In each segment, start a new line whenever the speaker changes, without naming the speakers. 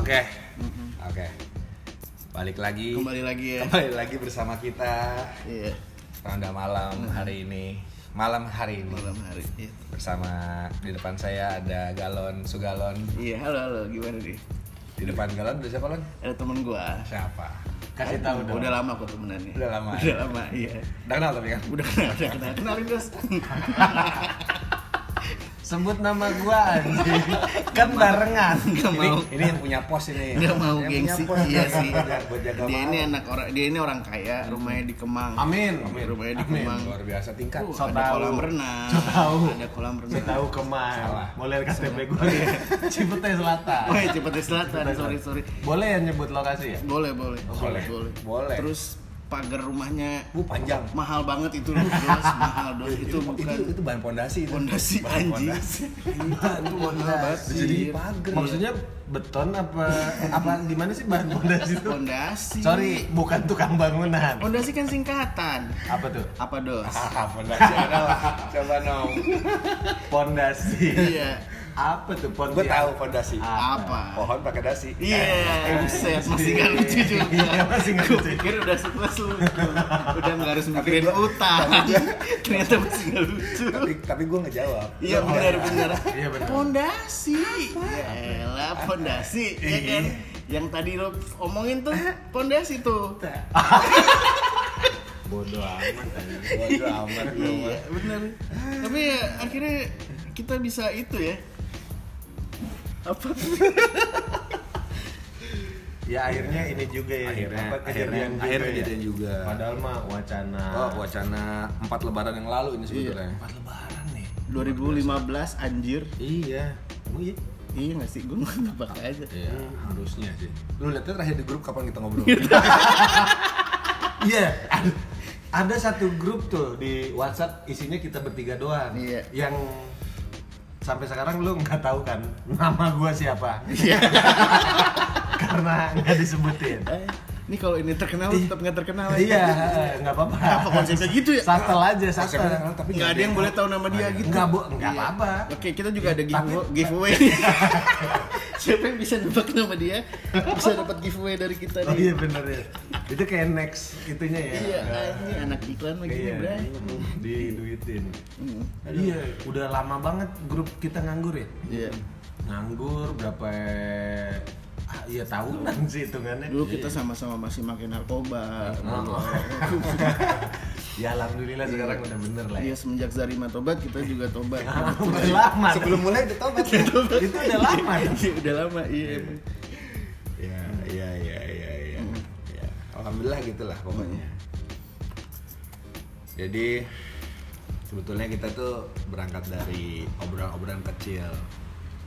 Oke. Oke. Balik lagi.
Kembali lagi ya.
Mm-hmm. Kembali lagi bersama kita
Iya.
Ronda Malam hari ini. Malam hari ini
Malam hari. Iya.
bersama di depan saya ada Galon Sugalon.
Iya, halo halo, gimana nih?
Di depan Galon ada siapa, Lon?
Ada temen gua.
Siapa? Kasih tahu dong.
Udah lama kok temenannya.
Udah lama.
Udah lama, iya.
Udah kenal tapi kan.
Udah kenal, udah kenal. Kenalin, Dos.
Sebut nama gua anjing. kan barengan.
Nggak
Ini,
mau.
ini yang punya pos ini.
Nggak mau
Yang
gengsi.
punya pos.
Iya sih.
Buat jaga
Dia
malam. Mm-hmm.
ini anak orang dia ini orang kaya, rumahnya di Kemang.
Amin.
Rumahnya di
Amin.
Kemang.
Luar biasa tingkat.
Tuh,
So
ada
tahu.
kolam renang.
So tahu.
Ada kolam
Saya
renang.
tahu kemana.
Salah.
Boleh lihat KTP gue.
ya?
Cipete Selatan.
Oh, ya Cipete Selatan. Sorry, sorry.
Boleh ya nyebut lokasi ya?
Boleh, boleh.
Oh, Boleh. Boleh.
Terus pagar rumahnya
Bu panjang.
mahal banget itu Dos, mahal Dos. Itu bukan
itu, itu bahan pondasi itu.
Pondasi
Bahan
anjing.
pondasi. Nah,
Itu mahal banget.
Jadi pagar.
Nah,
ya?
Maksudnya beton apa apa gimana sih bahan pondasi itu?
pondasi.
Sorry, bukan tukang bangunan.
Pondasi kan singkatan.
Apa tuh?
Apa Dos?
Ah, pondasi adalah coba nom.
Pondasi.
Iya.
Apa tuh pondasi?
Gue tahu pondasi.
Apa?
Pohon pakai dasi.
Iya, buset, masih gak lucu juga.
Iya, masih nggak
Gua
lucu.
pikir udah stres lu. Udah nggak harus mikirin utang. Ternyata masih gak lucu.
Tapi tapi gue ngejawab.
Iya benar benar.
Iya, benar.
Pondasi. Ya elah, pondasi
Iya.
ya kan. Yang tadi lo omongin tuh
Ah.
pondasi tuh.
Bodoh amat. anjing. Bodoh amat. lu, mah.
Iya benar. Tapi ya, akhirnya kita bisa itu ya. Apa?
Ya akhirnya ini juga ya.
Akhirnya,
apa, kejadian
akhirnya, akhirnya
juga,
kejadian
ya?
juga.
Padahal mah wacana.
Oh, wacana empat lebaran yang lalu ini sebetulnya.
Pas lebaran nih.
2015 anjir.
Iya. Emang iya?
Iya nggak sih? Gue nggak nebak aja.
Iya, harusnya sih. Lu lihatnya terakhir di grup kapan kita ngobrol?
Iya. ad- Ada satu grup tuh di WhatsApp isinya kita bertiga doang.
Iya.
Yang sampai sekarang lu nggak tahu kan nama gua siapa
Iya.
karena nggak disebutin.
Eh, Ini kalau ini terkenal tetap nggak terkenal. ya?
iya, nggak apa-apa.
Apa konsepnya gitu ya?
Satel aja,
Saya
satel.
bilang, "Lu, tapi
Nggak ada yang boleh tahu nama dia gitu.
Nggak bo- nggak
Iya.
apa-apa.
Oke, kita juga ada giveaway. giveaway. Siapa yang bisa nebak nama dia bisa dapat giveaway dari kita
Oh
nih.
iya bener ya. Itu kayak next itunya ya.
Iya, ini anak iklan lagi nih,
Iya,
Bray.
diduitin. Iya, udah lama banget grup kita nganggur ya.
Iya.
nganggur berapa ah, iya tahunan sih hitungannya
Dulu kita sama-sama masih pakai narkoba.
Iya. Oh. ya alhamdulillah sekarang udah bener lah ya.
Iya, semenjak Zarima tobat kita juga tobat.
udah lama
Sebelum mulai udah tobat.
itu udah lama
Iya, udah lama, iya. emang.
Ya, ya, ya, ya, ya. ya. Alhamdulillah gitulah pokoknya. Jadi sebetulnya kita tuh berangkat dari obrolan-obrolan kecil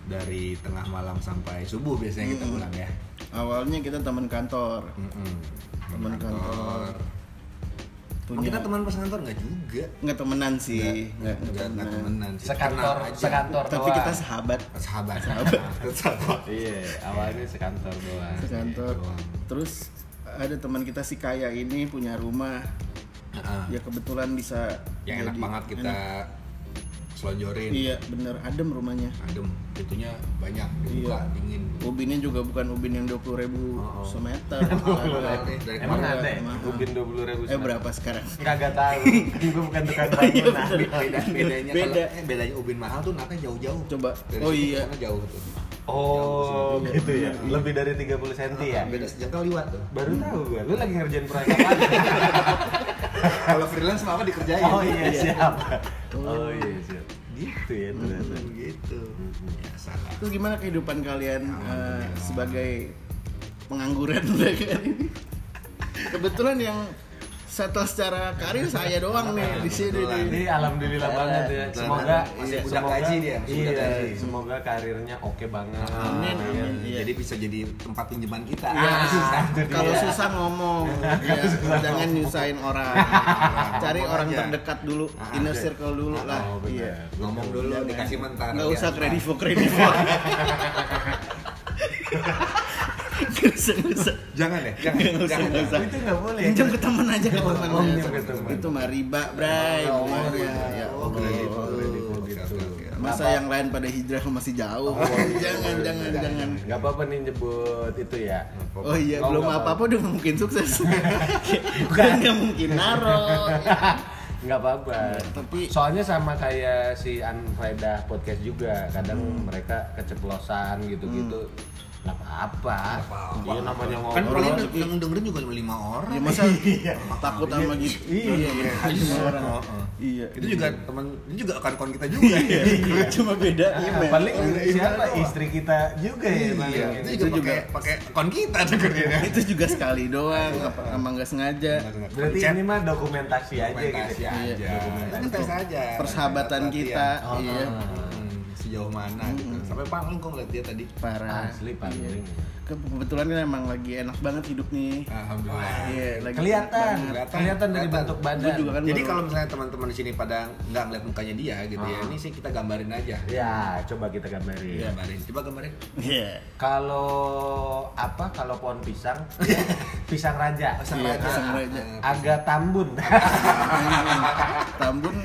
dari tengah malam sampai subuh biasanya kita pulang ya. Hmm.
Awalnya kita teman kantor.
Mm-mm.
Teman kantor.
Oh, kita teman pas kantor nggak juga.
nggak temenan sih,
Nggak, nggak nggak temenan. sih.
sekantor
Kenal aja.
sekantor
Tapi kita sahabat.
sahabat. Sahabat.
iya awalnya sekantor doang
kantor.
doang.
Terus ada teman kita si Kaya ini punya rumah.
Heeh.
Ya kebetulan bisa
yang Ah. Ya enak
jadi-
banget kita
enak.
selonjorin
Iya, bener adem rumahnya.
adem pintunya banyak dibuka
Iya.
dingin
Ubinnya juga bukan ubin yang 20.000 ribu
Oh, oh.
semeter.
Dari
emang
kemarin
ada ya
mahal.
ubin dua puluh ribu
Iya. eh berapa sekarang?
kagak tahu kan gue bukan tukang bangunan
beda bedanya
Beda.
kalau eh, bedanya ubin mahal tuh naknya jauh-jauh
Coba.
dari
Oh,
situ ke
iya.
sana jauh tuh
oh gitu ya lebih dari 30 cm
Ah,
ya
beda sejengkal liwat tuh
baru tahu gue lu lagi ngerjain proyek apa
kalau freelance mah apa dikerjain
oh iya siap oh iya siap gitu ya ternyata
gitu ya salah
Terus gimana kehidupan kalian eh, sebagai pengangguran belakangan ini? Kebetulan yang settle secara karir saya doang nih di sini
Kebetulan.
nih.
Ini alhamdulillah
Eh,
banget ya.
betul
Semoga
banget. Masih budak gaji dia, masih
Iya,
budak gaji.
semoga karirnya oke banget.
Amin, amin. Iya.
Ah, jadi bisa jadi tempat pinjaman kita
Ya,
Ah.
susah tuh dia.
kalau susah ngomong, ya, jangan nyusahin orang. Cari
Ngomong
orang
aja.
terdekat dulu,
Ah,
inner
iya.
circle dulu
Ah,
lah.
oh, benar.
Iya.
ngomong dulu
Jangan.
dikasih mentar
Nggak
ya.
usah kredivo kredivo. Nggak usah, nggak usah.
jangan ya jangan
Nggak usah,
jangan,
nggak usah.
jangan.
Itu nggak boleh.
Pinjam ke temen aja ke
Oh,
temen.
pinjam ke temen.
Itu mah riba, bray.
Oh,
Bener ya.
iya.
Ya
Oh,
Allah.
gitu.
gitu.
Oke, oke, oke.
Masa
Nggak
yang lain pada hijrah masih jauh. jangan, jangan, jangan.
Gak apa-apa nih nyebut itu ya.
Hmm.
Oh iya,
Oh,
belum
nggak
apa-apa udah mungkin sukses. Bukan nggak mungkin naro.
Nggak apa-apa.
Iya,
Tapi-
soalnya sama kayak si Anfaedah podcast juga, kadang
Hmm.
mereka keceplosan gitu-gitu. Nggak apa-apa.
apa-apa.
Iya namanya ngomong.
Kan paling yang dengerin juga lima orang.
Oh, iya. Ya masa takut sama gitu.
Iya.
Sama orang.
Oh, oh.
Iya.
Itu juga teman, itu juga akan kawan kita juga. ya.
Cuma beda email.
Iya. paling siapa istri kita juga ya paling.
Iya. Itu
Itu
juga
juga. Iya.
pakai pakai kawan kita dengerin ya.
Itu juga sekali doang, apa apa nggak sengaja.
Berarti ini mah dokumentasi, aja gitu.
Iya. dokumentasi
ya.
aja.
Iya.
Kan tes aja. Latihan.
Persahabatan kita,
Oh,
iya.
Hmm, sejauh mana gitu. Sampai pangling kok ngeliat dia tadi.
Parah. Iya.
Asli
Iya.
paling.
Ke- Kebetulan kan emang lagi enak banget hidup nih.
Alhamdulillah.
Iya, lagi
Kelihatan,
Ah, Kelihatan.
kelihatan dari
Kelihatan.
bentuk
Gue
badan.
juga kan
Jadi
baru-
kalau misalnya teman-teman di sini pada nggak ngeliat mukanya dia gitu ya,
Ah.
ini sih kita gambarin aja.
Ya, coba kita gambarin.
Gambarin. Coba gambarin.
Iya.
Kalau apa? Kalau pohon pisang, Iya. pisang raja,
Pasang
Iya,
raja.
pasang raja.
agak tambun.
Tambun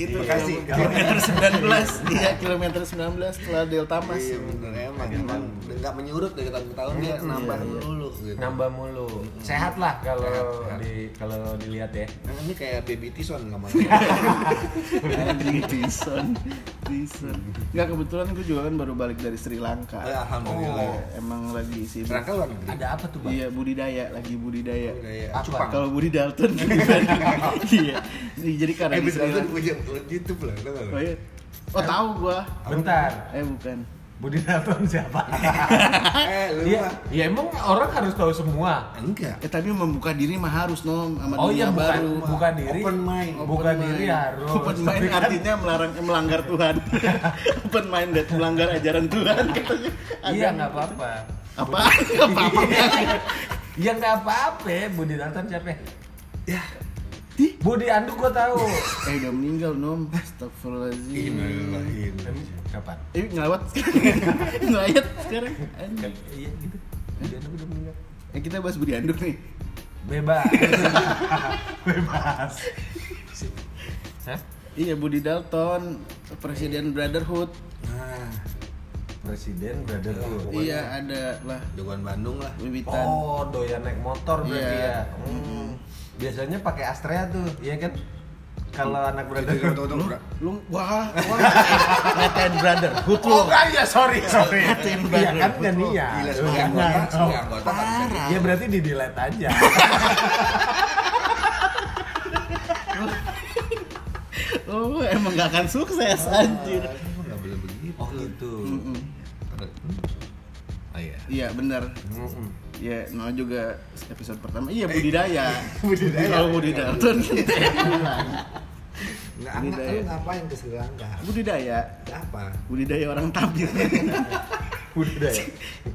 itu
Bekasi.
kilo- kilometer 19 iya kilometer 19 setelah Del Tamas
Iya bener emang. Emang nggak menyurut dari tahun ke tahun
Iya,
dia nambah dulu. Gitu.
Nambah mulu. Sehat lah kalau di kalau dilihat ya.
Nah, ini kayak baby Tison nggak mau.
anjing Jason Jason nggak kebetulan gue juga kan baru balik dari Sri
Ya,
Lanka Oh, iya,
Alhamdulillah.
emang lagi sibuk
Serangka luar negeri.
Ada apa tuh, Bang?
iya budidaya lagi budidaya
Budidaya.
Apa?
Cupang.
kalau Budi Dalton iya jadi karena
Eh
di
bisa
Sri
itu
Lanka
punya punya YouTube lah. tau nggak lu?
oh, iya. oh tahu gua
Bentar.
eh bukan
Budi Dalton siapa?
Eh lu
Iya,
mah.
ya emang orang harus tahu semua.
Enggak.
eh tapi membuka diri mah harus nom sama
Oh
dunia
iya, bukan
baru
buka diri.
Open mind.
Buka diri harus.
Open mind
Tapi kan-
artinya melarang eh, melanggar Tuhan. open minded melanggar ajaran Tuhan katanya.
Iya,
Agama.
nggak apa-apa.
Apa? Apa? apa
Ya nggak apa-apa, Budi Dalton siapa?
Ya.
Budi Anduk gua tahu.
Eh udah meninggal nom. Astagfirullahaladzim.
Innalillahi.
Kan Kapan?
Eh ngelawat ngelayat sekarang. Anjing.
Iya gitu. Budi Anduk udah meninggal.
Eh kita bahas Budi Anduk nih.
Bebas. Bebas. Hah?
Iya Budi Dalton, Presiden Brotherhood.
Nah,
Presiden Brotherhood.
Iya ada lah
jagoan Bandung lah.
wiwitan.
Oh, doyan naik motor berarti
Iya.
ya. Hmm. Biasanya pakai Astrea tuh, iya kan? Kalau anak
Tunggu,
Brotherhood.
tunggu, tunggu.
Lu wah, wah. Latin Brotherhood lu.
Oh, enggak ya, sorry, sorry.
Latin
Iya kan
Brotherhood
dan
lu.
iya.
Gila, sebagai anggota, sebagai anggota Ah, nggak bisa gitu.
Ya berarti di delete aja.
Lu Oh, emang gak akan sukses anjir.
Emang nggak boleh begitu.
Oh gitu.
Mm-mm.
Oh iya.
Iya benar.
Mm-mm.
Ya, no juga episode pertama. Iya budidaya.
Budidaya.
Kalau budidaya Dalton gitu ya.
Nggak,
Ini
anak
daya.
lu ngapain ke Sri Lanka?
budidaya.
Apa?
Budidaya orang Tamil.
Udah ya.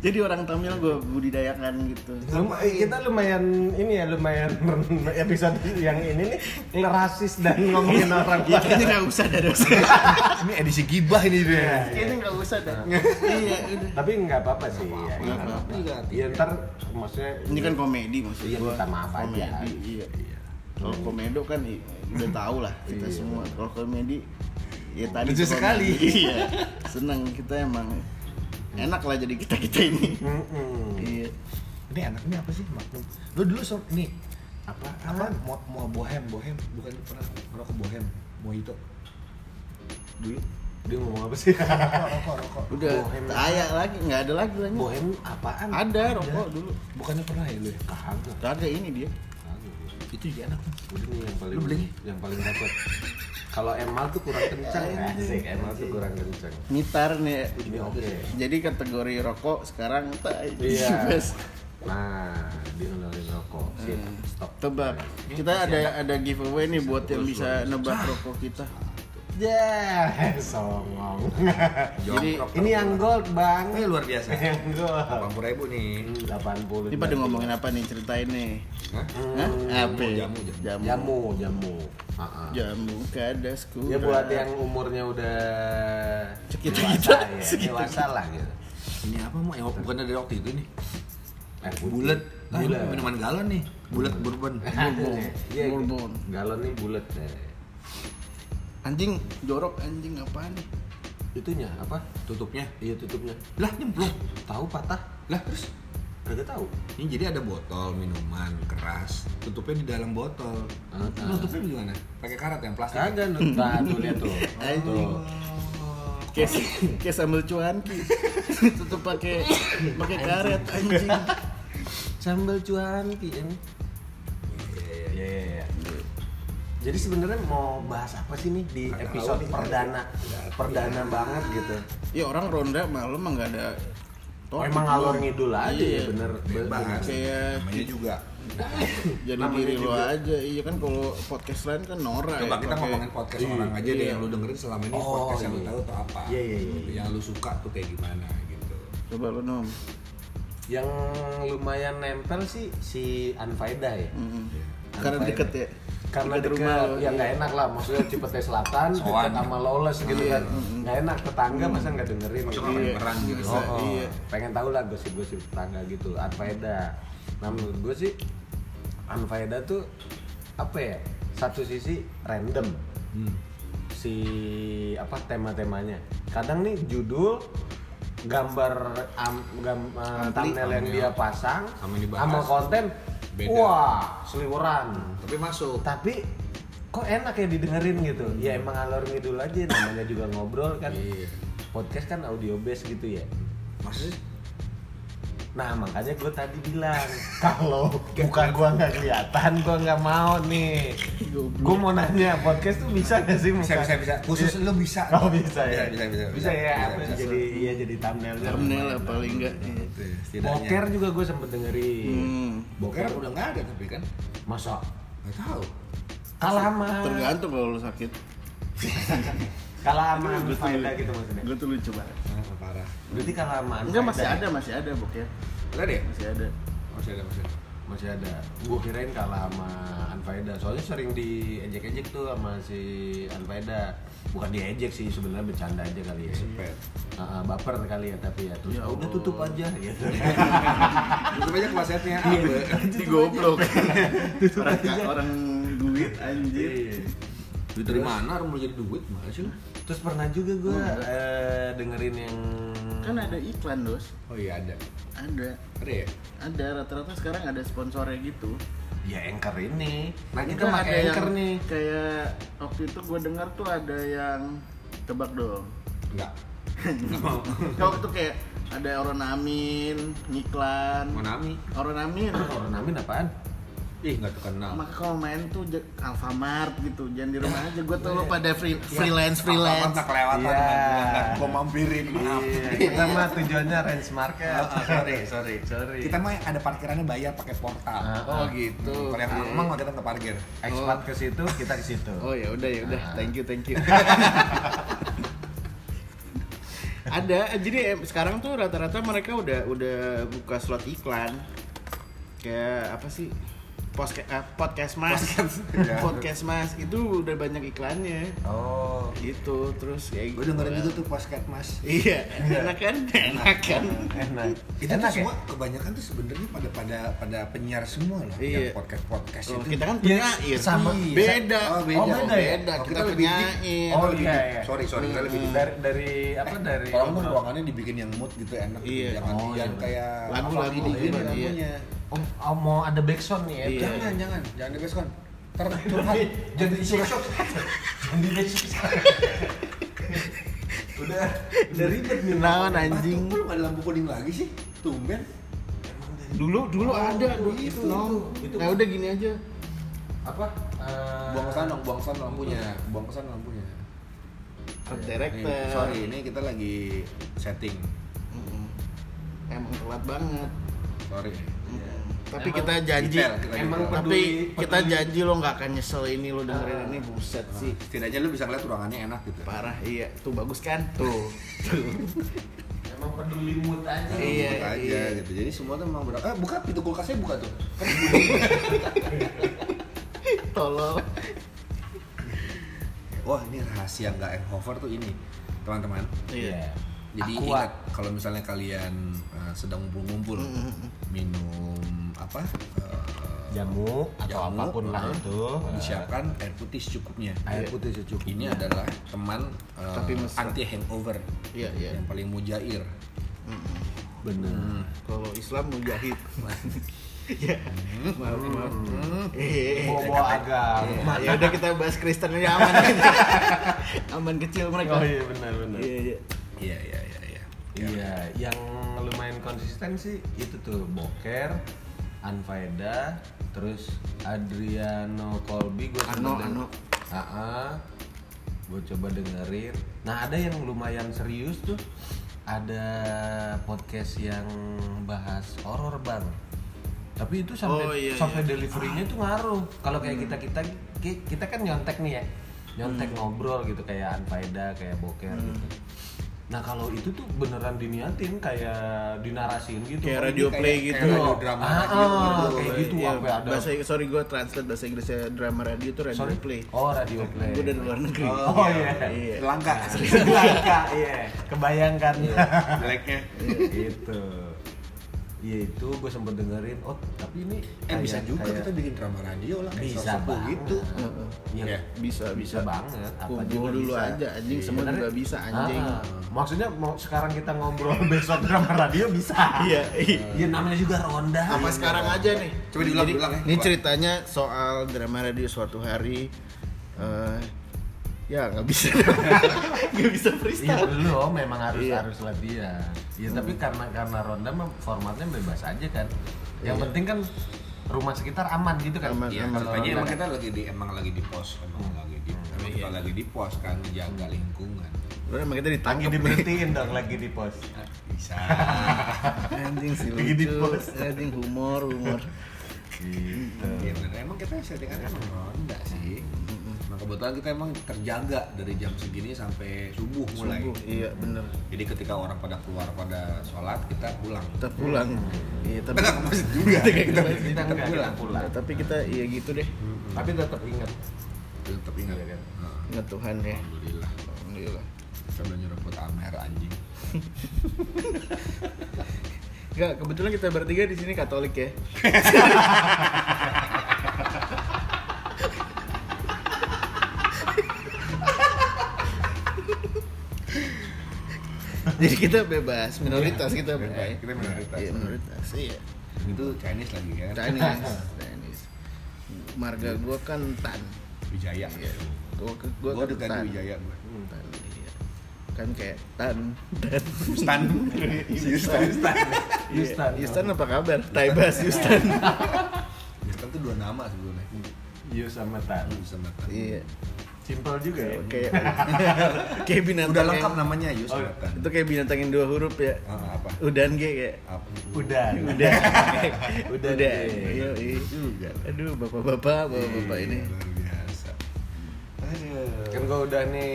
Jadi orang Tamil gue budidayakan gitu.
Lum- kita lumayan ini ya lumayan episode yang ini nih rasis dan ngomongin orang
Iya.
Ya kayaknya nggak usah dah dosa.
Ini edisi gibah ini
Iya,
deh.
iya.
Kayaknya nggak usah dah. Iya udah.
tapi nggak apa-apa sih ya,
Nggak apa-apa. Iya,
ya ntar maksudnya
Ini kan komedi maksudnya.
Iya, minta maaf aja.
Komedi, iya. Kalau komedo kan i- udah tau lah kita semua. Kalau komedi ya tadi
Lucu
komedi.
sekali.
Iya. Seneng kita emang enak lah jadi kita kita ini.
Mm-mm.
Iya.
Ini anak ini apa sih maklum? Lu dulu so, ini apa apa mau mau bohem bohem bukan pernah merokok bohem mojito
dulu dia ngomong apa sih
rokok rokok
Udah,
Bohem.
ayak lagi, nggak ada lagi lagi.
bohem apaan
Ada rokok dulu.
bukannya pernah ya lu ya
kagak
Ada ini dia.
kagak
itu juga enak tuh
udah nih yang paling
Lu beli?
yang paling dapat kalau emal tuh kurang kencang asik emal tuh kurang kencang
Mitar nih.
ini oke
Jadi kategori rokok sekarang tai.
Iya.
Best.
nah dia ngeluarin rokok sip
Hmm.
stop
Tebak. Kita ada ada giveaway nih buat yang bisa nebak rokok kita.
ya songong
Jadi,
ini yang gold bang
Oh, iya,
ini luar biasa
yang gold
delapan puluh ribu nih
delapan puluh Hmm.
Ini pada ngomongin apa nih ceritain nih?
Hah?
Hah? Eh, Apa?
jamu, jamu.
Jamu.
jamu jamu Ah, ah.
Jamu kadasku.
Ya buat yang umurnya udah
Sekitar kita.
dewasa ya,
Sekitar
dewasa lah gitu.
ini apa mau ya, bukan dari waktu itu nih
Eh, putih.
bulat ah, ini
bulat.
minuman galon nih bulat bourbon
Bourbon.
Iya, gitu.
Bourbon.
Galon nih bulat. Eh.
Anjing jorok anjing apaan nih?
itunya apa
tutupnya
iya tutupnya
lah nyemplung
tahu patah
lah terus
kagak tahu
ini jadi ada botol minuman keras tutupnya di dalam botol
Ah.
tutupnya gimana pakai karat yang plastik ya?
kagak nut- nah tuh lihat tuh
Anjing.
tuh
Kayak kayak sambal cuanki. Tutup pakai pakai karet anjing.
sambal gitu ya. cuanki ini
Iya, iya,
Iya, iya, iya. Jadi sebenarnya mau bahas apa sih nih di
Nggak
episode
tahu nih.
perdana, perdana banget gitu.
Ya orang ronda malam mah nggak ada.
Oh,
topik
emang ngalor
doang.
ngidul
Iya.
aja ya bener.
iya.
bener.
Bebas.
Kayak-
namanya juga
Jadi
Namanya
diri lo
juga.
aja. Iya kan kalau podcast lain kan norak.
coba
ya,
kita
pakai-
ngomongin podcast orang aja deh
Iya.
yang lu dengerin selama ini
Oh,
podcast yang lu
iya.
tahu tuh apa gitu.
Iya, iya, iya, iya.
yang lu suka tuh kayak gimana gitu
Coba lo nom.
Yang lumayan nempel sih si Anfaida ya.
Mm-mm.
Iya.
Karena
Apa ya?
deket ya.
Karena
Deket
deket,
lo,
ya
iya.
nggak enak lah, maksudnya Cipete Selatan,
Soan.
deket sama Lawless gitu
Iya.
kan, nggak enak tetangga masa nggak dengerin
Masuk
gitu.
sama
Iya.
peran gitu
Bisa,
Oh, oh.
iya.
pengen tahu lah gosip-gosip tetangga gitu, Anfaida. Nah menurut gue sih, Anfaida tuh apa ya? Satu sisi random
Hmm.
si apa tema-temanya. Kadang nih judul gambar am, gam- eh, thumbnail yang dia pasang
Sama yang dibahas.
sama konten
Beda.
wah seliweran
tapi masuk
tapi kok enak ya didengerin gitu ya emang alur ngidul aja namanya juga ngobrol kan
Hmm. Iya.
podcast kan audio based gitu ya
masih
Nah makanya gue tadi bilang kalau muka gue nggak kelihatan gue nggak mau nih.
Goblok.
Gue mau nanya podcast tuh bisa nggak sih muka?
bisa bisa bisa khusus lu bisa
Oh bisa ya.
bisa bisa
Bisa ya. apa
bisa.
jadi iya jadi thumbnail.
Thumbnail lah paling nggak. iya.
Gitu, setidaknya
Boker juga gue sempet dengerin.
Hmm.
boker udah nggak ada tapi kan
Masa
nggak tahu
kalah sama
Tergantung kalau lo sakit.
kalah sama Anfaida gitu maksudnya.
Gue tuh lucu banget.
ah, parah
Berarti kalah sama
Enggak
Anfaida
masih
ya?
ada, masih ada bok ya.
udah deh
Masih ada.
masih ada masih ada
Masih ada. Gue kirain kalah sama Anfaida. Soalnya sering diejek-ejek tuh sama si Anfaida. Bukan diejek sih sebenarnya bercanda aja
Iya,
kali ya.
pet
Ah, ah, baper kali ya tapi ya
Ya
terus "Ah, udah
Allah.
tutup aja gitu.
itu banyak klosetnya ah, be-
Digoblok. orang
Iya.
orang duit anjir.
duit dari mana orang mau jadi duit mana sih lu?
terus pernah juga gue dengerin yang
Kan ada iklan, Dos.
oh iya ada
Ada.
ada ya
Ada rata-rata sekarang ada sponsornya gitu.
ya anchor ini. Nah kita
Enggak,
pakai anchor
Kan yang,
nih.
Kayak waktu itu gue dengar tuh ada yang tebak dong.
enggak enggak mau
Kayak waktu kayak ada Oron Amin, Niklan.
mau nami
Oron Amin.
Orang namin apaan?
ih nggak terkenal
Maka kalau main tuh je- Alfamart gitu, jangan di rumah aja. Gue tuh lo pada free-
Ya,
freelance
apa-apa
freelance.
nggak kelewatan
Iya.
nggak gua mampirin maaf
Iya, kita mah tujuannya range market.
Ah, ah, sorry sorry
Sorry.
kita mah ada parkirannya bayar pakai portal Iya.
Ah,
Oh gitu.
Hmm, kalau yang
Oke.
emang kita nggak parkir
Expat ke situ, kita ke situ.
Oh ya udah ya udah,
Ah.
thank you thank you. Ada, jadi eh, sekarang tuh rata-rata mereka udah udah buka slot iklan. Kayak apa sih? Podcast podcast Mas.
Iya.
podcast Mas itu udah banyak iklannya.
Oh.
Gitu, terus kayak
gue dengerin juga tuh podcast mas
Iya, enak kan? Enak kan?
Enak.
itu
Enak ya?
tuh semua kebanyakan tuh sebenarnya pada pada pada penyiar semua lah yang
Iya.
podcast podcast
Kalau
itu
kita kan
Iya,
penyair.
sama.
Beda.
Oh, beda.
Oh, beda
Oh,
ya?
Kita,
kita lebih
penyair.
Oh
Lebih
iya
deep.
iya.
sorry sorry kita lebih
Dari,
deep.
dari,
Eh,
apa dari
Orang tuh ruangannya dibikin yang mood gitu enak
Iya.
gitu. Jangan
Oh,
yang
iya.
kayak gitu ini
Lagu-lagu, iya,
gini
iya.
lagunya.
Oh, oh, mau ada backsound nih ya. Eh,
Iya.
Jangan jangan jangan di basecon. Ntar Tuhan jadi shock.
Jadi backsound. Udah udah ribet nih.
Kenalan anjing.
Kok lu nggak ada lampu kuning lagi sih? Tumben.
Dulu dulu
Oh,
ada
itu,
dulu
itu,
Nom.
itu.
Nah, udah gini aja.
Apa? eh,
Buang kesan dong, buang kesan lampunya, buang kesan lampunya.
Art
Nih,
director.
sorry, ini kita lagi setting.
Mm-mm. Emang telat banget.
Sorry.
Mm-mm. Tapi Iya.
Emang
kita janji.
detail, kita
Emang
detail.
Tapi
peduli-
kita
peduli.
janji lo nggak akan nyesel ini lo dengerin
Ah.
ini buset sih.
Setidaknya lu bisa ngeliat ruangannya enak gitu.
Parah iya. Tuh bagus kan? Tuh. Tuh.
Emang peduli mood aja.
Iya,
Buka aja
iya.
gitu. Jadi semua tuh memang berat. Eh, buka pintu kulkasnya buka tuh.
Tolol.
Wah, ini rahasia nggak hangover tuh ini, teman-teman.
Iya.
Jadi
Aqua.
ingat kalau misalnya
Mm,
kalian eh, sedang ngumpul-ngumpul, minum apa? eh,
jamu atau
Jamu,
apapun lah
eh,
itu eh,
disiapkan air putih secukupnya.
air putih secukupnya
Iya. Ini adalah teman eh,
Tapi mesra.
anti hangover
Iya, iya.
yang paling mujair.
bener
Hmm.
Kalau Islam mujahid. ya, maaf, maaf. Eh,
bawa bawa
Iya.
agama
Ya udah kita bahas Kristen aja aman. aman kecil mereka.
oh iya benar benar
Iya, iya.
Iya iya iya. iya.
Iya, yang lumayan konsisten sih itu tuh Boker, Anfaeda, terus Adriano Colby gue
Ano, Ano.
gue coba dengerin. Nah ada yang lumayan serius tuh, ada podcast yang bahas horor bang. Tapi itu sampai
Oh, iya,
sampai deliverynya tuh ngaruh. Kalau
Hmm.
kayak kita kita kita kan nyontek nih ya, nyontek ngobrol gitu kayak Anfaeda, kayak Boker
Hmm.
gitu. Nah kalau itu tuh beneran diniatin kayak dinarasiin gitu.
Kayak
Kan
radio
ini
play
kayak-
gitu.
kayak radio
Oh,
drama
ah,
radio gitu, kayak gitu
Iya,
sampai ada.
bahasa sorry gue translate bahasa Inggrisnya drama radio itu radio
Sorry.
play.
Oh radio play.
Gue dari luar negeri.
Oh, iya.
Iya. Iya.
Langka.
Langka, iya. Kebayangkan.
Jeleknya.
gitu. Iya itu gue sempet dengerin. Oh tapi ini
Eh bisa
kayak-
juga
kayak-
kita bikin drama radio lah. kayak
bisa
Sosoku
banget.
gitu.
Iya.
Iya.
Bisa,
bisa
bisa.
banget. Apa
Kumpul
juga
dulu
bisa.
aja anjing
Iya.
semua
Bener
juga
ya?
bisa anjing.
Ah, maksudnya mau sekarang kita ngobrol besok drama radio bisa.
Iya, iya.
Iya namanya juga ronda. Iya,
Apa sekarang aja nih?
Coba diulang,
Jadi,
diulang ya.
Ini
Coba.
ceritanya soal drama radio suatu hari eh, ya nggak bisa nggak bisa
Iya
freestyle.
dulu oh, memang harus
Iya.
harus latihan. Iya tapi karena karena ronda mah formatnya bebas aja kan. Yang penting kan rumah sekitar aman gitu
Iya.
kan.
Aman,
Iya,
aman.
kalau
makanya
ronda
emang
kan.
kita lagi di emang lagi di pos, emang lagi di emang kita lagi di pos kan menjaga lingkungan.
Lu emang kita
lagi
ditangkap nih.
diberhentiin dong lagi di pos.
Bisa.
anjing sih
Lagi di
lucu
post.
anjing humor humor
Gitu.
Iya bener. Emang kita settingannya emang ronda sih. Nah kebetulan kita emang terjaga dari jam segini sampai subuh mulai.
Sungguh, iya bener
Jadi ketika orang pada keluar pada sholat kita pulang.
kita pulang iya tapi
Enggak maksud juga. Kita
Kita
kita
enggak kita
pulang.
pulang.
tapi kita iya gitu deh
Tapi tetap ingat.
Tetap ingat.
Iya, kan?
Nah,
nggak Tuhan ya
Alhamdulillah.
alhamdulillah
Kita udah nyeruput amer anjing.
Enggak, kebetulan kita bertiga di sini Katolik ya. Jadi kita bebas, minoritas
Iya,
kita Pak, ya.
kita minoritas.
Iya, minoritas. Iya.
Itu Chinese lagi kan.
Chinese, Chinese. Marga gua kan Tan.
Wijaya.
Iya. Gua gua,
Gue udah
kan Tan.
ganti Wijaya gue.
Tan, iya. Kan kayak Tan, Tan.
Stan. Stan. Stan.
Yustan.
Iya. Yustan apa kabar? Taibas Yustan.
Stan tuh dua nama sebelumnya.
Yus Iya, sama Tan.
Bisa makan.
Iya.
Simpel juga ya.
kayak Iya, kayak
Udah
binatang yang-
lengkap namanya Yus
Oh,
Nathan.
itu kayak binatang yang dua huruf ya
Ah, apa?
udan ge kayak
Apa?
Udah.
udah
Udan
udah
ge.
iya iya.
Juga. Iya,
aduh bapak-bapak bapak-bapak ini
luar biasa.
Iya.
Kan gua udah nih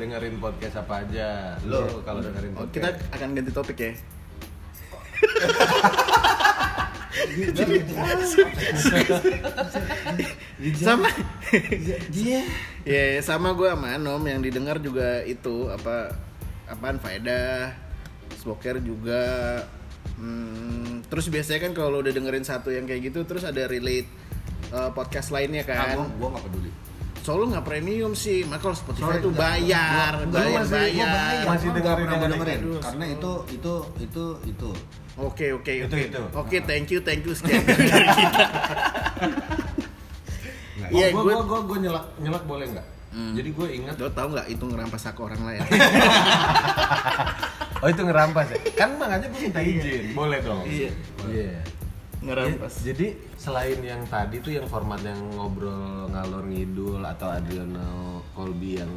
dengerin podcast apa aja. Lo kalau dengerin
oh,
podcast.
Iya. kita akan ganti topik ya sama
Dia
ya sama gue sama Anom yang didengar juga itu apa apaan faedah smoker juga Hmm, terus biasanya kan kalau udah dengerin satu yang kayak gitu terus ada relate eh, podcast lainnya
kan
kan
gua enggak peduli.
Solo nggak premium sih, maka kalau Spotify
Sorry,
tuh
nggak.
bayar,
Gua- gua
bayar,
masih- gua
bayar.
Masih
Gua
dengerin
pernah
yang
dengerin
itu.
karena itu itu itu itu.
Oke, oke,
Itu,
oke.
itu.
Oke, thank you, thank you sekian dari kita. Iya,
gue
gue
gue gue nyelak nyelak boleh nggak? Jadi gue ingat.
Lo tau nggak itu ngerampas hak orang lain?
Oh itu ngerampas ya? Kan makanya gue minta izin. boleh dong.
Iya.
Iya.
Ngerampas.
Jadi selain yang tadi tuh yang format yang ngobrol ngalor ngidul atau Adriano Colby yang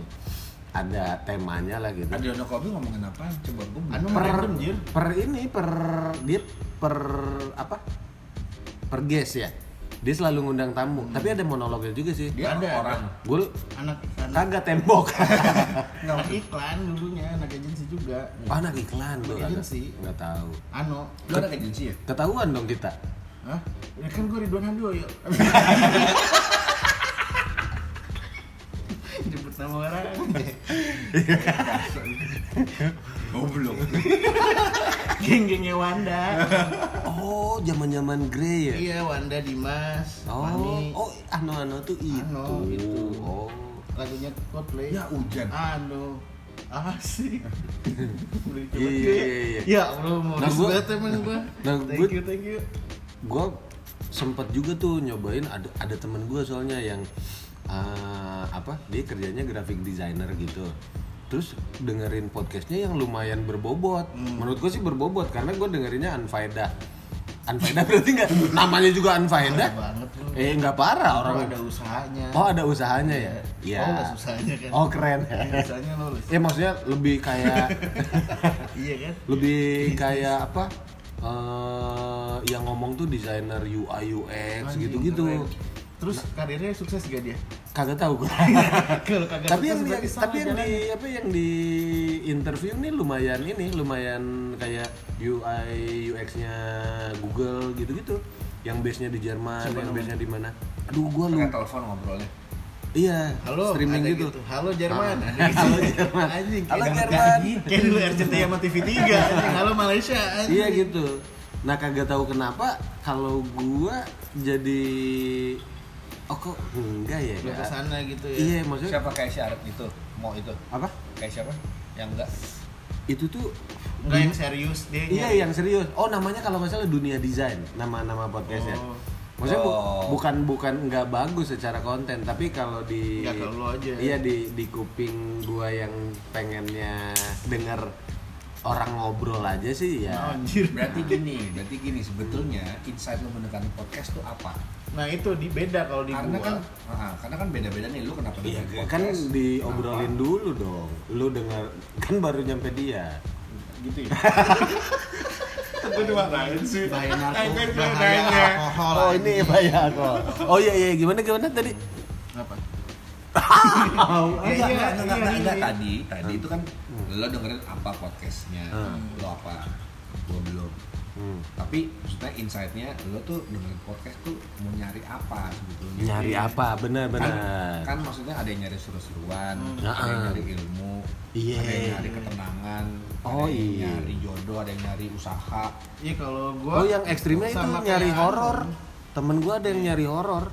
ada temanya lah gitu.
Adriano Kobi ngomongin apa? Coba gua.
Anu
per
random jir.
per ini per dia per apa? Per guest ya. Dia selalu ngundang tamu, tapi ada monolognya juga sih.
Dia ada orang.
Gue
Anak iklan.
kagak tembok.
Kan, Anak iklan dulunya, anak agensi juga.
Oh, anak iklan tuh.
Anak agensi.
Nggak tahu.
Ano.
Lu ada agensi ya?
Ketahuan dong kita.
Hah? Ya kan gue Ridwan Handoyo. Jemput nama orang.
Goblok. Geng-gengnya Wanda.
Oh, zaman-zaman Grey ya.
Iya, Wanda, Dimas,
Oh,
Fani.
oh, ano-ano tuh itu.
Ano, itu.
Oh.
Lagunya Coldplay.
Ya hujan.
Anu. Asik. Beli
Iya,
cepet
iya,
ya.
iya.
Ya Allah, mau
Nah, gua-
banget emang gua.
Nah,
thank
gua- Nah.
you, thank you.
Gua sempet juga tuh nyobain ada ada temen gua soalnya yang eh, apa? Dia kerjanya graphic designer gitu. Terus dengerin podcastnya yang lumayan berbobot.
Hmm.
Menurut gue sih berbobot karena gue dengerinnya unfaedah. Unfaedah berarti nggak namanya juga unfaedah.
Parah banget lu.
Eh nggak parah
Orang
orang.
ada usahanya.
Oh ada usahanya ya? Iya.
Oh, nggak susahnya kan.
Oh keren.
Usahanya lo. Lis.
ya maksudnya lebih kayak
Iya kan?
lebih kayak apa? eh, yang ngomong tuh desainer UI UX
Anjing,
gitu-gitu.
keren. Terus
Nah.
karirnya sukses gak dia?
Kagak tahu gue.
Kalau kagak
tapi yang
sukses
di,
berarti salah
tapi yang di apa yang di interview nih lumayan ini lumayan kayak UI UX-nya Google gitu-gitu. Yang base-nya di Jerman, yang base-nya di mana? Aduh, gua
Pakai
lupa.
telepon ngobrolnya.
Iya,
Halo,
streaming
ada
gitu.
Halo Jerman. Ada gitu.
Halo, Jerman.
Anjing,
Halo,
kayak- gitu.
Jerman.
Kayak dulu RCTI sama TV3. anjing. Halo Malaysia. anjing.
Iya gitu. Nah kagak tahu kenapa kalau gua jadi oh kok enggak ya?
Lu
nggak?
kesana gitu ya.
Iya maksudnya
Siapa kayak syarat itu? Mau itu?
apa?
Kayak siapa? Yang enggak?
Itu tuh
Enggak yang serius dia. nyari.
iya yang serius. Oh namanya kalau nggak salah dunia desain nama nama podcastnya.
Oh.
Maksudnya bu-
Oh.
bukan bukan nggak bagus secara konten tapi kalau di
Nggak kalau lu aja.
iya di di kuping gua yang pengennya denger orang ngobrol aja sih ya.
Nah, anjir.
Berarti gini, berarti gini sebetulnya insight lo mendekati podcast tuh apa?
Nah, itu di beda kalau di
karena
gua.
kan, ah, karena kan beda-beda nih lu kenapa
Iya,
dengerin
kan
podcast?
diobrolin dulu dong. Lu dengar kan baru nyampe dia.
gitu ya.
Gue dimarahin sih.
Bahaya narkoba,
Anjing, lu
bahaya
nanya.
alkohol.
Oh,
anjing.
ini bahaya kok. Oh iya iya gimana gimana tadi?
apa?
Iya,
Iya,
enggak, enggak,
iya,
enggak, enggak,
iya,
enggak.
iya.
tadi, tadi itu kan lo dengerin apa podcastnya, lo apa, gue belum.
Hmm.
Tapi maksudnya insightnya lo tuh dengerin podcast tuh mau nyari apa sebetulnya?
Nyari apa? Benar
Kan,
benar.
kan maksudnya ada yang nyari seru-seruan,
Hmm.
ada yang
Ah.
nyari ilmu,
Iya.
ada yang nyari ketenangan,
Oh,
ada yang
iya.
nyari jodoh, ada yang nyari usaha.
Iya kalau gua
Oh yang ekstrimnya itu
sama
nyari
kayak
horor.
Agung.
Temen gua ada yang nyari horor.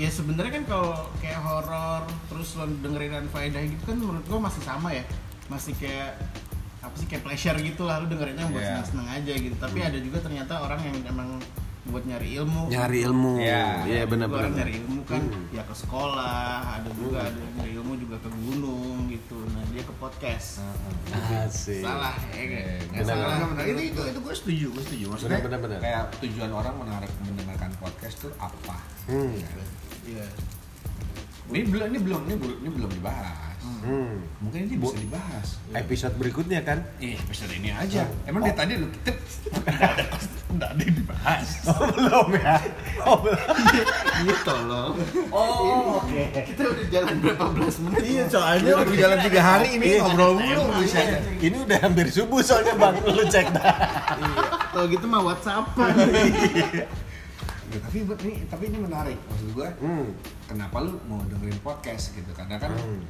ya sebenarnya kan kalau kayak horor terus lo dengerin faedah gitu kan menurut gua masih sama ya masih kayak apa sih kayak pleasure gitu lah lu dengerinnya buat
Iya.
seneng-seneng aja gitu tapi ada juga ternyata orang yang emang buat nyari ilmu
Hmm. Nyari ilmu.
Oh. Iya.
Iya
Ada
benar
juga
benar.
orang nyari ilmu kan
Hmm.
ya ke sekolah ada juga ada yang nyari ilmu juga ke gunung gitu nah dia ke podcast
Asik.
salah ya kan?
Iya,
nggak
Benar,
salah
Benar-benar. Itu itu itu gue setuju, gue setuju. Maksudnya
Benar, benar, benar.
kayak tujuan orang menarik mendengarkan podcast tuh apa?
Hmm.
Ya kan?
Iya.
Ini belum, ini belum, ini belum, ini belum dibahas.
Hmm.
Mungkin ini bisa dibahas.
Episode berikutnya kan?
Ih, episode ini aja. Emang dia tadi lu kita nggak ada yang dibahas.
Oh, belum ya. Oh, belum.
Iya tolong.
Oh,
Kita udah jalan berapa belas menit?
Iya soalnya
udah jalan tiga hari ini
Iya.
ngobrol mulu bisa.
Ini udah hampir subuh soalnya bang, lu cek dah.
Kalau gitu mah WhatsApp.
Iya.
Ya, Tapi buat ini, tapi ini menarik. Maksud gue,
Hmm.
kenapa lu mau dengerin podcast gitu? Karena kan
Hmm.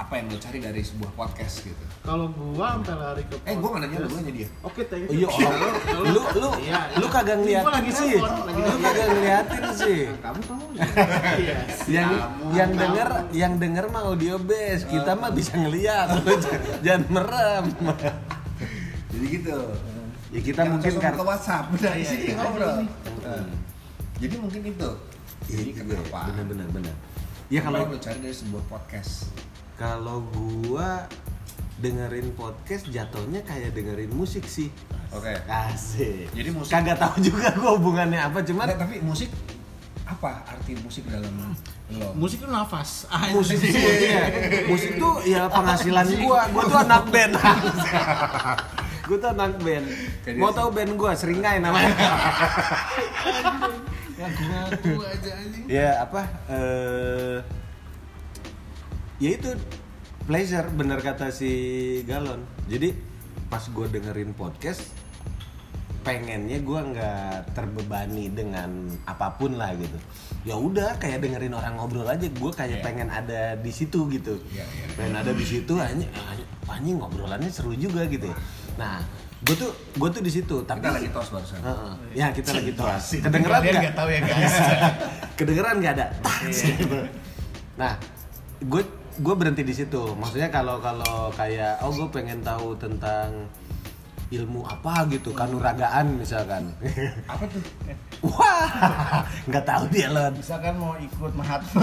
apa yang lu cari dari sebuah podcast gitu?
Kalau gua sampai lari ke
Eh, gue nggak nanya lu,
podcast.
gue nanya dia.
Oke, thank
Oh,
you.
iya, orang. lu lu
Iya,
lu kagak
Gua
ngeliatin
lagi
sih.
nelpon, lagi
Lu kagak ngeliatin sih.
Kamu tahu
Iya.
Yang
Kamu,
yang
kamu.
denger yang denger mah audio base, kita mah bisa ngeliat. Lu j- Jangan merem. Iya,
Jadi gitu.
Ya kita
Jangan
mungkin
langsung
karena
ke WhatsApp udah
Iya,
sini
iya.
ngobrol.
Iya.
Nah, Jadi mungkin itu.
Iya,
Jadi kenapa?
Benar benar benar.
Ya
Ya kalau
lu cari dari sebuah podcast.
kalau gua dengerin podcast jatuhnya kayak dengerin musik sih.
Oke.
Nah, Asik.
Jadi musik-
kagak tahu juga gua hubungannya apa, cuman
Nggak, tapi musik apa arti musik
Hmm.
dalam lo?
Musik itu nafas. Ah,
musik
itu
tuh iya. musik tuh ya penghasilan gua gua tuh anak band gua tuh anak band
Jadi-
mau tau band gua seringai namanya
Ngaku aja anjing.
ya apa eh ya itu pleasure bener kata si galon jadi pas gua dengerin podcast pengennya gua nggak terbebani dengan apapun lah gitu ya udah kayak dengerin orang ngobrol aja gua
Iya.
kayak pengen ada di situ gitu
Iya, iya.
pengen ada di situ anjing anjing- anjing ngobrolannya seru juga gitu ya Nah, gue tuh gue tuh di situ, tapi
Kita lagi tos barusan.
Heeh. Ya kita lagi tos.
Pasti.
Kedengeran
Kalian
nggak?
nggak tahu ya, guys.
Kedengeran nggak ada. Tas,
Iya.
gitu. Nah, gue gue berhenti di situ. Maksudnya kalau kalau kayak oh gue pengen tahu tentang ilmu apa gitu kanuragaan misalkan.
Apa tuh?
Wah, nggak tahu dia Lon.
Misalkan mau ikut Mahatma.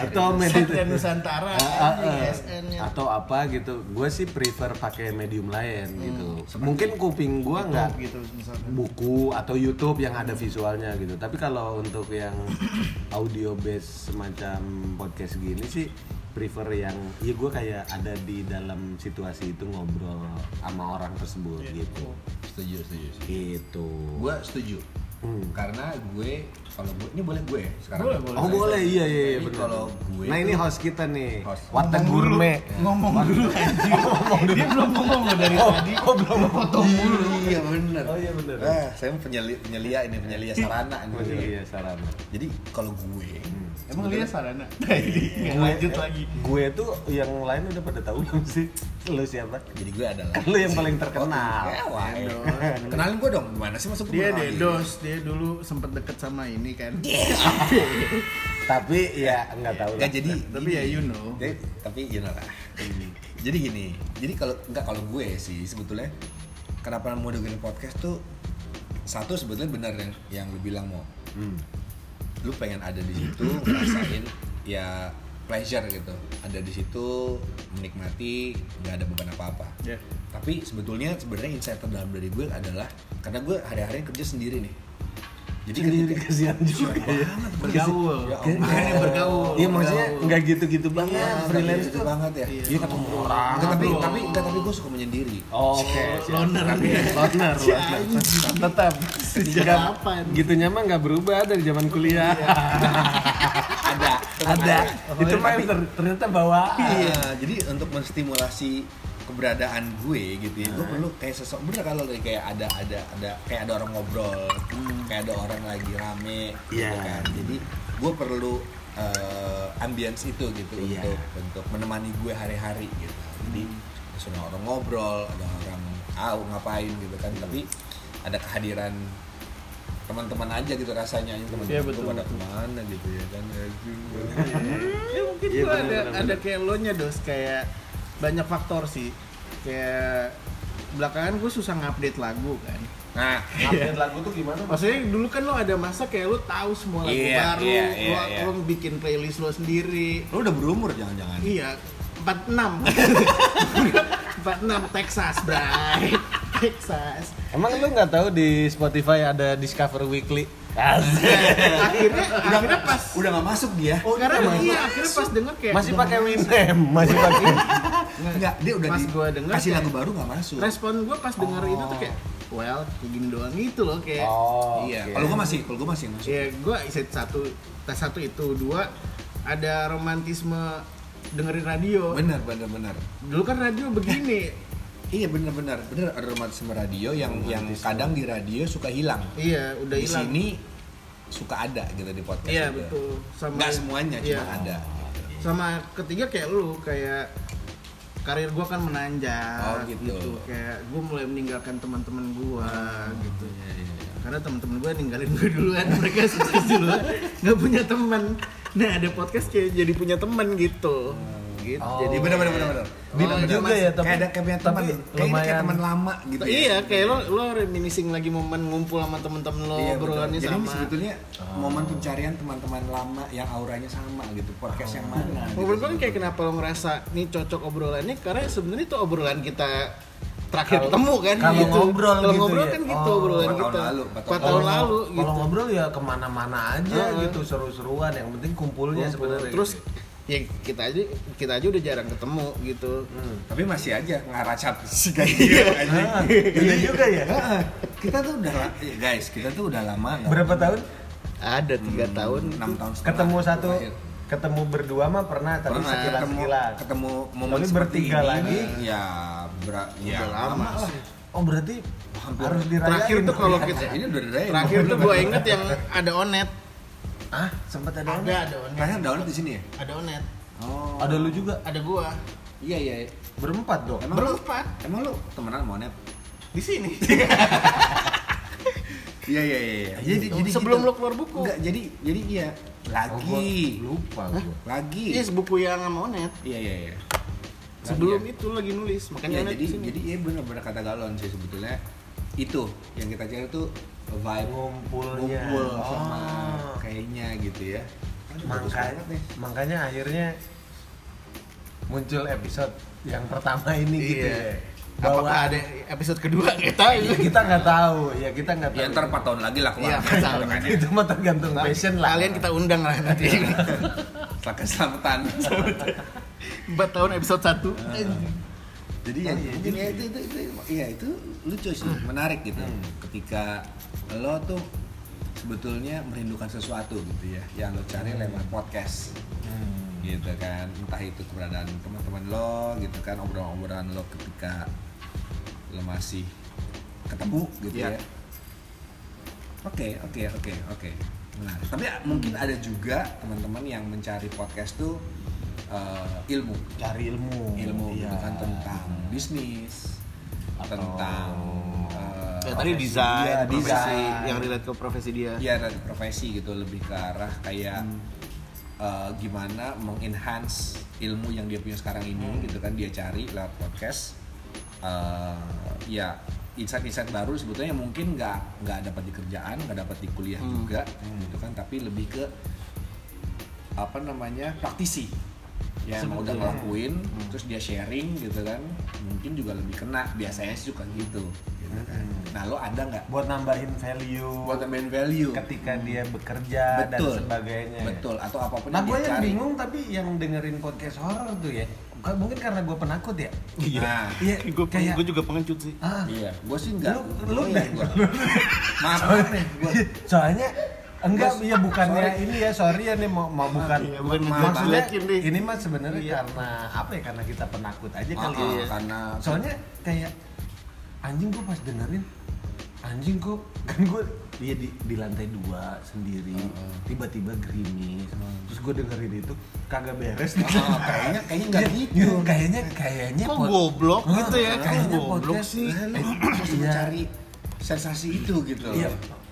Atau medit-
dan Iya, Nusantara.
Ah, ah, ah.
SN-nya.
atau apa gitu gue sih prefer pakai medium lain gitu
Hmm,
mungkin kuping gue nggak
gitu misalkan.
buku atau YouTube yang ada visualnya gitu tapi kalau untuk yang audio based semacam podcast gini sih prefer yang ya gue kayak ada di dalam situasi itu ngobrol sama orang tersebut
Iya.
gitu
Oh.
Setuju, setuju.
gitu
Gue setuju.
Hmm.
Karena gue kalau gue ini boleh gue ya sekarang.
Boleh, boleh.
Oh boleh, iya iya iya
Jadi
benar.
kalau gue
Nah ini
tuh-
host kita nih,
Host.
Watak Gourmet
Ngomong dulu anjir. Dia belum ngomong loh dari tadi. Oh, belum potong mulu.
Iya bener.
Oh, iya, bener.
Ah, saya penyelia, penyelia ini penyelia sarana ini.
Iya sarana.
Jadi kalau gue
Hmm.
Emang dia sarana? Tadi nggak
Gue-
Iya,
eh.
lanjut lagi.
Gue tuh yang lain udah pada tahu belum sih? Lu siapa?
jadi gue adalah
Kan lu yang paling terkenal.
Oh, ya, wah, ya. Kenalin gue dong gimana sih masuk
Dia dedos, dia dulu sempet deket sama ini kan.
Tapi ya nggak tahu lah.
Enggak Iya. jadi
Tapi ya you know. Hmm.
Jadi, tapi you know lah. jadi gini, jadi kalau nggak kalau gue sih sebetulnya kenapa mau dengerin podcast tuh satu sebetulnya benar yang yang lu bilang mau.
Hmm.
Lu pengen ada di situ ngerasain ya pleasure gitu. Ada di situ menikmati nggak ada beban apa-apa.
Ya.
Tapi sebetulnya sebenarnya insight terdalam dari gue adalah karena gue hari-hari kerja sendiri nih. Jadi
Sendiri
ketika-
kasihan juga ya.
Bergaul.
Ya
Kan
Allah.
ini bergaul.
Iya maksudnya
Bergaul.
nggak gitu-gitu banget
Iya,
freelance
gitu
tuh.
banget ya.
Iya ketemu orang.
Enggak, tapi tapi enggak, tapi gue suka menyendiri.
Oh, Oke, siap.
Loner
Loner, loner.
tetap sejak
Nggak-
kapan?
Gitunya mah nggak berubah dari zaman kuliah.
Ada,
Ada. Itu mah yang ter- ternyata bawa.
Iya, jadi untuk menstimulasi keberadaan gue gitu ya,
Ah.
gue perlu kayak sosok bener kalau dari kayak ada ada ada kayak ada orang ngobrol, kayak ada orang lagi rame, gitu
Hmm. Iya.
kan. Jadi gue perlu eh, ambience itu gitu
Iya.
untuk untuk menemani gue hari-hari gitu. Jadi
Hmm.
sudah orang ngobrol, ada orang ah ngapain gitu kan, tapi ada kehadiran teman-teman aja gitu rasanya ini teman-teman
Iya,
gua
betul,
pada kemana gitu ya kan Aduh.
ya mungkin
Iya,
lu
benar,
ada
benar,
ada kayak lo nya dos kayak banyak faktor sih kayak belakangan gue susah ngupdate lagu kan
nah
Update Iya. lagu tuh gimana?
maksudnya dulu kan lo ada masa kayak lo tahu semua lagu
Iya,
baru
iya,
lo,
iya, iya.
lo bikin playlist lo sendiri
lu udah berumur jangan-jangan
iya 46 46 Texas bray Texas
Emang lu nggak tahu di Spotify ada Discover Weekly?
akhirnya akhirnya pas
udah nggak masuk dia
oh, sekarang iya akhirnya pas denger kayak
Masih pakai Winem, masih pakai.
nggak dia udah
Pas
di-
gua denger
kasih
kayak-
lagu baru nggak masuk
respon gue pas denger itu tuh kayak well kayak gini doang gitu loh kayak
Oh,
iya
oke.
kalau gua masih kalau gua masih yang masuk
ya gue set satu tes satu itu dua ada romantisme dengerin radio
bener bener bener
dulu kan radio begini
iya bener bener bener ada romantisme radio yang yang kadang di radio suka hilang
iya udah
di
hilang
sini suka ada gitu di podcast
iya
juga.
betul sama
nggak semuanya
iya.
cuma ada gitu.
sama ketiga kayak lu kayak karir gue kan menanjak
Oh, gitu.
kayak gue mulai meninggalkan teman-teman gue
Ah,
gitu
iya,
karena teman-teman gue ninggalin gue duluan mereka sukses duluan nggak punya teman nah ada podcast kayak jadi punya teman gitu gitu
Oh.
jadi
Iya, bener bener bener bener
Bener
ada
juga
mas-
ya, tapi
kayak ada kayak punya teman
tapi
kayak ini kayak
lumayan-
teman lama gitu ya.
iya kayak lo lo reminiscing lagi momen ngumpul sama temen-temen lo
Iya, betul.
obrolannya
Jadi ini
sama
sebetulnya
Oh.
momen pencarian teman-teman lama yang auranya sama gitu, podcast yang mana. gitu.
Ngobrol gue kan kayak kenapa lo ngerasa nih cocok obrolannya karena sebenarnya itu obrolan kita terakhir
Kalau-
ketemu kan
kalau ngobrol
kalau
gitu
ngobrol
ya?
kan gitu
Oh,
obrolan
empat tahun
kita
lalu, empat
empat
tahun
tahun lalu
Kalau
gitu
ngobrol ya kemana-mana aja
Heeh.
gitu seru-seruan. Yang penting kumpulnya sebenarnya.
terus
gitu.
ya kita aja kita aja udah jarang ketemu gitu
Tapi masih aja ngaracat si Gajil anjing.
Ah, iya juga ya.
Heeh. kita tuh udah la- ya, guys, kita tuh udah lama nggak-
Berapa tahun?
ada tiga tahun
enam tahun setengah
Ketemu satu,
terakhir.
ketemu berdua mah pernah,
Pernah
tapi
ketemu,
sekilas-sekilas.
ketemu momen
Tapi
seperti
bertiga
ini,
lagi.
ya ber- ya
udah lama
lah.
sih.
Oh berarti harus dirayain. ya?
terakhir tuh kalau kita
Ya, Ini udah dirayain.
terakhir tuh gue
kan?
inget yang ada onet
ah sempat ada.
Nah,
ada ada
ya?
onet
Terakhir download di sini ya?
ada onet
Oh.
Ada lu juga.
ada gua
Iya iya. iya.
Berempat dong.
Emang
Berempat?
Lu, emang lu temenan sama Nep?
di sini.
Iya iya iya. iya. Jadi,
Oh,
jadi
sebelum
kita-
lu keluar buku?
Enggak, jadi jadi iya.
Oh,
Lagi.
gua lupa gua.
lagi.
Iya, buku yang sama Onet.
Iya iya iya.
Sebelum itu lagi nulis, makanya
Ya,
Onet
jadi
di sini.
jadi iya benar-benar kata galon sih sebetulnya itu yang kita cari tuh vibe
Ngumpulnya.
ngumpul sama
Oh.
kayaknya gitu ya. Aduh, bagus
Makanya,
banget nih.
makanya akhirnya muncul episode yang pertama ini gitu
Iya.
ya.
Apakah
Bahwa
ada episode kedua nggak tahu?
ya, kita nggak tahu, ya kita nggak tahu.
Ya ntar 4 tahun lagi lah
Iya,
keluar.
empat tahun lagi.
itu mah tergantung
Nah,
passion lah.
Kalian kita undang lah nanti.
Selamat selamatan.
4 tahun episode 1.
Jadi ya, jadi ya itu, itu, itu, ya itu lucu sih, menarik gitu. Ketika lo tuh sebetulnya merindukan sesuatu gitu ya, yang lo cari lewat podcast
Hmm.
gitu kan entah itu keberadaan teman-teman lo gitu kan obrolan-obrolan lo ketika lo masih ketemu gitu
Iya.
ya oke oke oke oke menarik tapi ya, mungkin ada juga teman-teman yang mencari podcast tuh eh, ilmu
Cari ilmu.
ilmu
Iya.
gitu kan tentang bisnis
Atau-
tentang eh,
Ya, tadi
profesi
desain,
dia,
profesi
desain
yang relate ke profesi dia.
ya dari profesi gitu lebih ke arah kayak eh, gimana mengenhance ilmu yang dia punya sekarang ini gitu kan dia cari lewat podcast Eh, ya insight-insight baru sebetulnya yang mungkin nggak nggak dapat di kerjaan nggak dapat di kuliah juga gitu kan tapi lebih ke apa namanya praktisi yang emang udah ngelakuin terus dia sharing gitu kan mungkin juga lebih kena biasanya sih suka gitu, gitu kan. nah lo ada nggak
Buat nambahin value.
buat main value
ketika dia bekerja
betul
dan sebagainya.
betul atau apapun
Nah gue
dia
yang
cari.
bingung tapi yang dengerin podcast horor tuh ya. Ka- Mungkin karena gue penakut ya.
nah
Iya.
Gue
kayak.
gue juga pengecut sih.
ah,
iya gue sih enggak
Lu- lu
Iya,
deh. Iya
gua. maaf nih gue
soalnya enggak
Gua-
ya bukannya
sorry.
ini ya sorry ya nih mau, mau bukan,
iya, bukan
maksudnya
ngejelekin deh.
ini mah sebenarnya
Iya.
karena apa ya karena kita penakut aja
Ah,
kali
ah,
ya.
karena
soalnya kayak anjing gue pas dengerin anjing gue kan gue dia di, di lantai dua sendiri tiba-tiba gerimis terus gue dengerin itu kagak beres nih.
Ah, kayaknya kayaknya enggak
Iya,
gitu
iya, kayaknya kayaknya
Kok
pod-
goblok
Ah,
gitu ya? Kok
kayaknya
goblok
podcast Eh,
sih? Eh,
Nah, lu harus
Iya.
mencari sensasi itu gitu loh
Iya,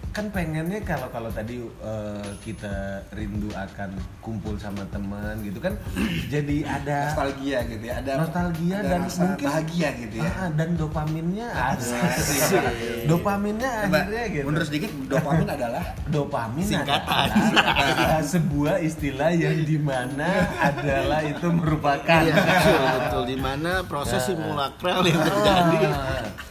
kan pengennya kalau kalau tadi eh, kita rindu akan kumpul sama teman gitu kan, jadi ada
nostalgia gitu ya ada
nostalgia
ada
dan
rasa
mungkin
bahagia gitu ya
Ah, dan dopaminnya ada.
Asik.
dopaminnya
Coba,
akhirnya gitu.
mundur sedikit dopamin adalah
Dopamin
Singkatan.
adalah adalah sebuah istilah yang dimana adalah itu merupakan
Iya.
Iya, betul. Di mana proses simulakral yang terjadi
Ah,